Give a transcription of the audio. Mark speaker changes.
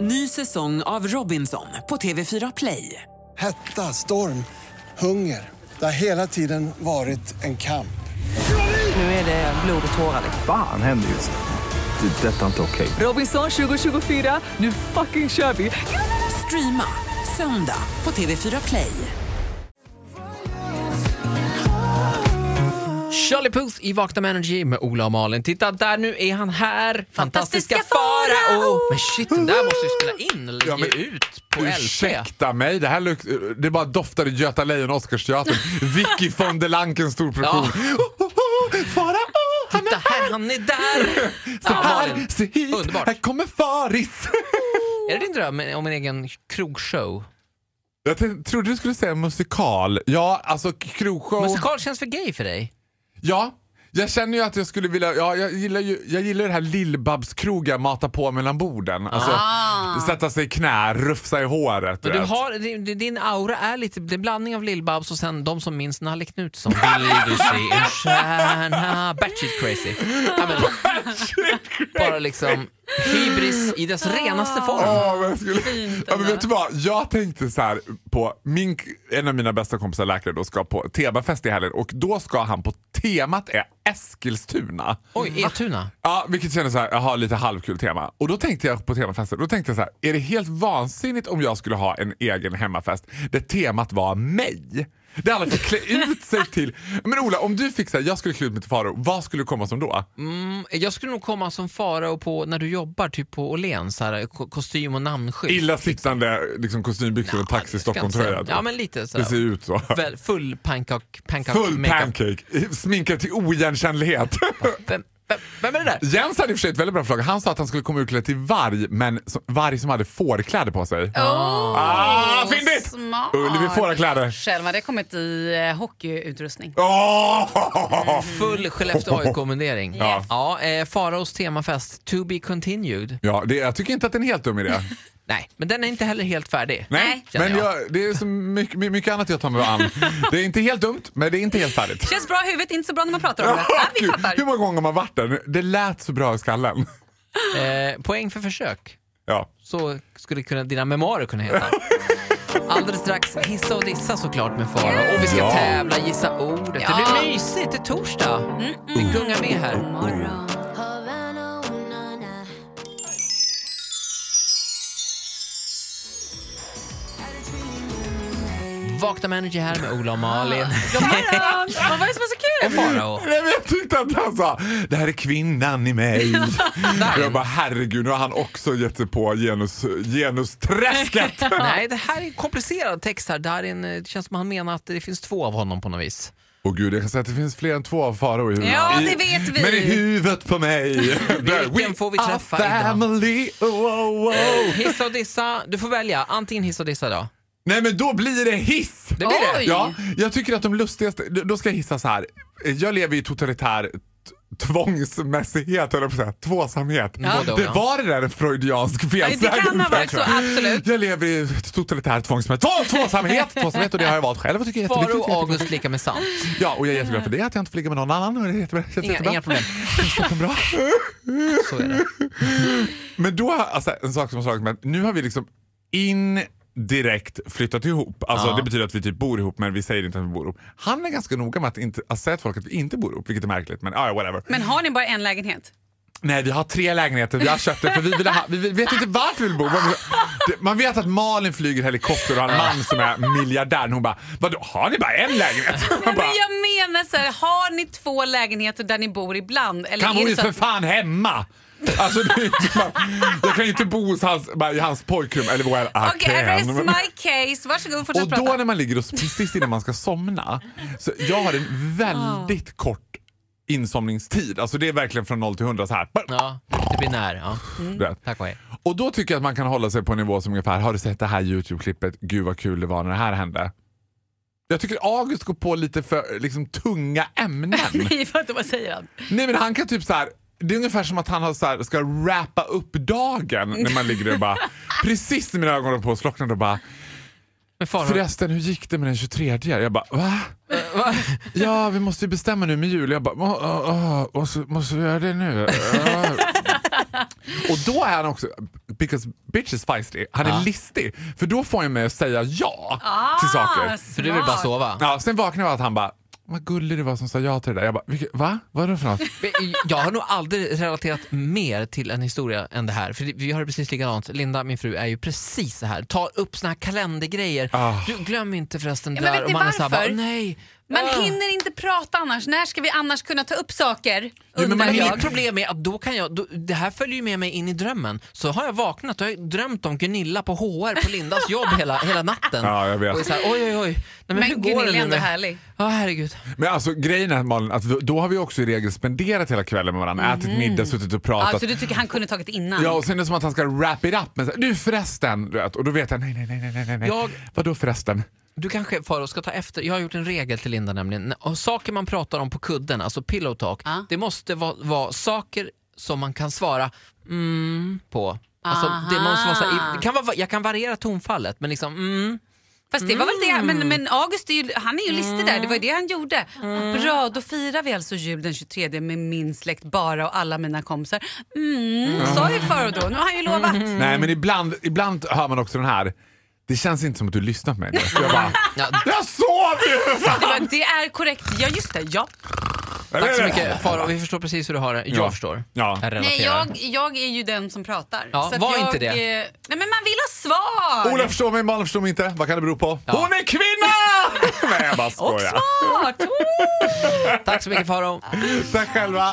Speaker 1: Ny säsong av Robinson på TV4 Play.
Speaker 2: Hetta, storm, hunger. Det har hela tiden varit en kamp.
Speaker 1: Nu är det blod och tårar. liksom.
Speaker 3: Fan händer just nu. Det. är Detta är inte okej.
Speaker 1: Robinson 2024, nu fucking kör vi! Streama söndag på TV4 Play.
Speaker 4: Charlie Puth i Vakna med Energy med Ola och Malin. Titta, där nu är han här! Fantastiska,
Speaker 5: Fantastiska
Speaker 4: Farao!
Speaker 5: Farao!
Speaker 4: Men shit, den där måste vi spela in och lägga
Speaker 6: Ja, men-
Speaker 4: ut på LP.
Speaker 6: Ursäkta mig, det här luk- det bara doftade Göta Lejon och Oscarsteatern. Vicky von der Oh, Lanken stor produktion. Farao, han
Speaker 4: Titta
Speaker 6: är
Speaker 4: här, han är där!
Speaker 6: oh, så
Speaker 4: Ja,
Speaker 6: här,
Speaker 4: Malin.
Speaker 6: se hit,
Speaker 4: Underbart.
Speaker 6: här kommer Faris.
Speaker 4: Är det din dröm om en egen krogshow?
Speaker 6: Jag t- trodde du skulle säga musikal. Ja, alltså krogshow.
Speaker 4: Musikal känns för gay för dig.
Speaker 6: Ja, jag känner ju att jag skulle vilja, ja, jag gillar ju jag gillar ju det här Lill-Babs-krogar, mata på mellan borden. Alltså, Sätta sig i knä, rufsa i håret.
Speaker 4: Ah. Men du
Speaker 6: du vet.
Speaker 4: har, din- din aura är lite det är en blandning av Lill-Babs och sen de som minns Nalle Knutsson. Vill du se en stjärna? Batshit crazy. Ja, men, bara liksom hybris i dess renaste form.
Speaker 6: Ja, men jag skulle, ja, men vet du vad? Jag tänkte så här på min, en av mina bästa kompisar läkare då ska på temafest i helgen och då ska han på temat är Eskilstuna.
Speaker 4: Oj, Etuna.
Speaker 6: Ja, vilket kändes så här, jaha, lite halvkul tema. Och då tänkte jag på temafesten, då tänkte jag så här, är det helt vansinnigt om jag skulle ha en egen hemmafest där temat var mig? Där alla fick klä ut sig till... Men Ola, om du fick säga jag skulle klä ut mig till Faro, vad skulle du komma som då?
Speaker 4: Mm. Jag skulle nog komma som farao på när du jobbar typ på Åhléns, så här, ko- kostym och namnskydd.
Speaker 6: Illasittande liksom, kostymbyxor och
Speaker 4: Ska
Speaker 6: taxi
Speaker 4: jag inte
Speaker 6: Stockholm-tröja. typ.
Speaker 4: säga. Ja, men lite så.
Speaker 6: Det ser ut så.
Speaker 4: Väl- Full pannkak, pannkak
Speaker 6: Full
Speaker 4: makeup.
Speaker 6: pancake, sminkad till oigenkännlighet.
Speaker 4: Vem, vem, vem är det där?
Speaker 6: Jens hade i och för sig ett väldigt bra förslag. Han sa att han skulle komma utklädd till varg, men som, varg som hade fårkläder på sig. Ah, fyndigt!
Speaker 5: Smart.
Speaker 6: Ullevi fårakläder.
Speaker 5: Själv hade jag kommit i eh, hockeyutrustning.
Speaker 6: Oh!
Speaker 4: Full Skellefteå AIK-kommendering.
Speaker 6: Ja.
Speaker 4: Ja, eh, Faraos temafest, to be continued.
Speaker 6: Ja, det, jag tycker inte att det är en helt dum idé.
Speaker 4: Nej, men den är inte heller helt färdig.
Speaker 6: Nej,
Speaker 4: känner
Speaker 6: men jag, det är så mycket, my- mycket annat jag tar mig an. Det är inte helt dumt, men det är inte helt färdigt.
Speaker 5: Känns bra i huvudet, inte så bra när man pratar om det. Ja, vi
Speaker 6: Gud,
Speaker 5: fattar.
Speaker 6: Hur många gånger har man varit där? Det lät så bra i skallen.
Speaker 4: Eh, poäng för försök.
Speaker 6: Ja.
Speaker 4: Så skulle kunna, dina memoarer kunna heta. Alldeles strax hissa och dissa såklart med Farao. Och vi ska
Speaker 6: Ja.
Speaker 4: tävla, gissa ordet. Det
Speaker 5: Ja.
Speaker 4: blir mysigt, det är torsdag. Vi gungar med här.
Speaker 5: Morgon.
Speaker 4: Vakna med Energy här med Ola och Malin.
Speaker 5: God morgon. eh, Vad var det som var så
Speaker 4: Och
Speaker 5: kul?
Speaker 4: Farao.
Speaker 6: Nej, men jag tyckte att han sa det här är kvinnan i mig. Och jag bara herregud, nu har han också gett sig på genus, genusträsket.
Speaker 4: Nej, det här är en komplicerad text här. Darin, eh, det känns som han menar att det finns två av honom på något vis.
Speaker 6: Och gud, jag kan säga att det finns fler än två av Farao i huvudet.
Speaker 5: Ja,
Speaker 6: I-
Speaker 5: det vet vi.
Speaker 6: Men i huvudet på mig.
Speaker 4: Vilken får vi
Speaker 6: are
Speaker 4: träffa idag?
Speaker 6: family. Oh, oh, oh.
Speaker 4: Hissa och dissa. Du får välja. Antingen hissa och dissa då.
Speaker 6: Nej men då blir det hiss!
Speaker 4: Det blir det.
Speaker 5: Oj.
Speaker 6: Ja, jag tycker att de lustigaste, då ska jag hissa så här. Jag lever i totalitär t- tvångsmässighet, eller på att säga, tvåsamhet.
Speaker 4: Både och,
Speaker 6: Det
Speaker 4: ja.
Speaker 6: var det där en freudiansk
Speaker 5: Nej,
Speaker 6: felsägning.
Speaker 5: det kan ha varit så,
Speaker 6: tror jag.
Speaker 5: absolut.
Speaker 6: Jag lever i totalitär tvångsmässighet. Två, tvåsamhet! tvåsamhet och det har jag valt själv och tycker är jätteviktigt.
Speaker 4: Farao August lika med sant.
Speaker 6: Ja, och jag är jätteglad för det, att jag inte får ligga med någon annan. Och det är jättebra. Känns
Speaker 4: Inga,
Speaker 6: jättebra.
Speaker 4: inga problem.
Speaker 6: Känns toppenbra.
Speaker 4: Så är det.
Speaker 6: Men då, alltså, en sak som har slagit mig, att nu har vi liksom indirekt flyttat ihop. Alltså,
Speaker 4: Ja.
Speaker 6: Det betyder att vi typ bor ihop men vi säger inte att vi bor ihop. Han är ganska noga med att inte att säga till folk att vi inte bor ihop, vilket är märkligt. Men ah, ja, whatever.
Speaker 5: Men har ni bara en lägenhet?
Speaker 6: Nej, vi har tre lägenheter. Vi har köpt det för vi, ville ha, vi vet inte vart vi vill bo. Men vi- det- Man vet att Malin flyger helikopter och har en man som är miljardär. Hon bara, vadå har ni bara en lägenhet? Man
Speaker 5: Nej,
Speaker 6: bara,
Speaker 5: men jag menar så här, har ni två lägenheter där ni bor ibland? Eller
Speaker 6: kan
Speaker 5: är
Speaker 6: hon
Speaker 5: det
Speaker 6: ju
Speaker 5: så
Speaker 6: för
Speaker 5: att,
Speaker 6: fan hemma! Alltså, det är inte, man, jag kan ju inte bo hos hans, bara i hans pojkrum. Eller well, I
Speaker 5: Okej, okay,
Speaker 6: can.
Speaker 5: rest my case. Varsågod, fortsätt
Speaker 6: Och
Speaker 5: prata.
Speaker 6: då när man ligger och precis innan man ska somna, så jag har en väldigt kort insomningstid. Alltså det är verkligen från 0 till 100 så här.
Speaker 4: Ja, det blir när. Ja.
Speaker 6: Du vet.
Speaker 4: Tack och hej.
Speaker 6: Och då tycker jag att man kan hålla sig på en nivå som ungefär, har du sett det här Youtube-klippet? Gud vad kul det var när det här hände. Jag tycker August går på lite för liksom, tunga ämnen.
Speaker 5: Nej, för att vad säger han?
Speaker 6: Nej men han kan typ så här. Det är ungefär som att han har så här, ska rappa upp dagen när man ligger där och bara precis när mina ögon håller på att slockna då bara
Speaker 4: Men Farao,
Speaker 6: Förresten, hur gick det med den 23? Jag bara, va? Ja, vi måste ju bestämma nu med jul. Jag bara, "Åh, åh, åh, måste, måste vi göra det nu? Åh." Och då är han också because bitch is feisty. Han är listig. För då får han mig att säga ja
Speaker 5: Ah,
Speaker 6: till saker.
Speaker 4: För du vill bara sova.
Speaker 6: Ja, sen vaknade jag av att han bara, vad gullig du var som sa ja till det där. Jag bara, "Vilket- va? Vad är det för något?
Speaker 4: Men Jag har nog aldrig relaterat mer till en historia än det här. För det- vi har det precis likadant. Linda, min fru, är ju precis så här. Ta upp såna här kalendergrejer.
Speaker 6: Ah.
Speaker 4: Du, glöm inte förresten
Speaker 5: Ja, men
Speaker 4: där.
Speaker 5: vet
Speaker 4: Och
Speaker 5: ni
Speaker 4: man är så här, bara,
Speaker 5: varför?
Speaker 4: nej.
Speaker 5: Man
Speaker 4: Ah.
Speaker 5: hinner inte prata annars. När ska vi annars kunna ta upp saker?
Speaker 6: men man
Speaker 5: Undrar
Speaker 4: Men
Speaker 5: jag.
Speaker 4: mitt problem är att då kan jag, då, det här följer ju med mig in i drömmen. Så har jag vaknat och har jag drömt om Gunilla på HR på Lindas jobb hela, hela natten.
Speaker 6: Ja, jag vet.
Speaker 4: Och är så här, oj, oj, oj. Nej, men,
Speaker 5: Men
Speaker 4: hur går
Speaker 5: Gunilla
Speaker 4: det nu
Speaker 5: är ändå
Speaker 4: med-
Speaker 5: härlig.
Speaker 4: Ja, herregud.
Speaker 6: Men alltså grejen är Malin, att då har vi också i regel spenderat hela kvällen med varandra, ätit middag, suttit och pratat.
Speaker 5: Ja, så Alltså, du tycker han kunde tagit innan?
Speaker 6: Ja, och sen är det som att han ska wrap it up. Men så, här, du förresten, du vet, och då vet han nej, nej, nej, nej, nej, nej.
Speaker 4: Jag- Mm.
Speaker 6: Vadå förresten?
Speaker 4: Du kanske Faro ska ta efter, jag har gjort en regel till Linda nämligen. Och saker man pratar om på kudden, alltså pillow talk,
Speaker 5: Ja.
Speaker 4: det måste va- vara saker som man kan svara mm på. Alltså, det måste vara så här, det kan vara, jag kan variera tonfallet men liksom mm.
Speaker 5: Fast det var väl det, men, men August är ju, han är ju listig där, det var ju det han gjorde.
Speaker 4: Mm.
Speaker 5: Bra, då firar vi alltså jul den 23 med min släkt bara och alla mina kompisar. Mm, sa ju förr och då, nu har han ju lovat.
Speaker 4: Mm.
Speaker 6: Nej, men ibland, ibland hör man också den här, det känns inte som att du lyssnar på mig. nu." Jag bara,
Speaker 4: Ja,
Speaker 6: jag sov ju! för fan!"
Speaker 5: Det, var, det är korrekt, ja just det, ja.
Speaker 4: tack så mycket Faro, vi förstår precis hur du har det. Jag
Speaker 6: Ja.
Speaker 4: förstår.
Speaker 6: Ja.
Speaker 4: Jag relaterar.
Speaker 5: Nej, jag, jag är ju den som pratar.
Speaker 4: Ja,
Speaker 5: att
Speaker 4: var
Speaker 5: jag,
Speaker 4: inte det.
Speaker 5: eh, Nej men man vill ha svar!
Speaker 6: Ola förstår mig, Malin förstår mig inte. Vad kan det bero på? Hon är kvinna! Nej, jag bara skojar.
Speaker 5: Smart!
Speaker 4: Tack så mycket Faro.
Speaker 6: Tack själva.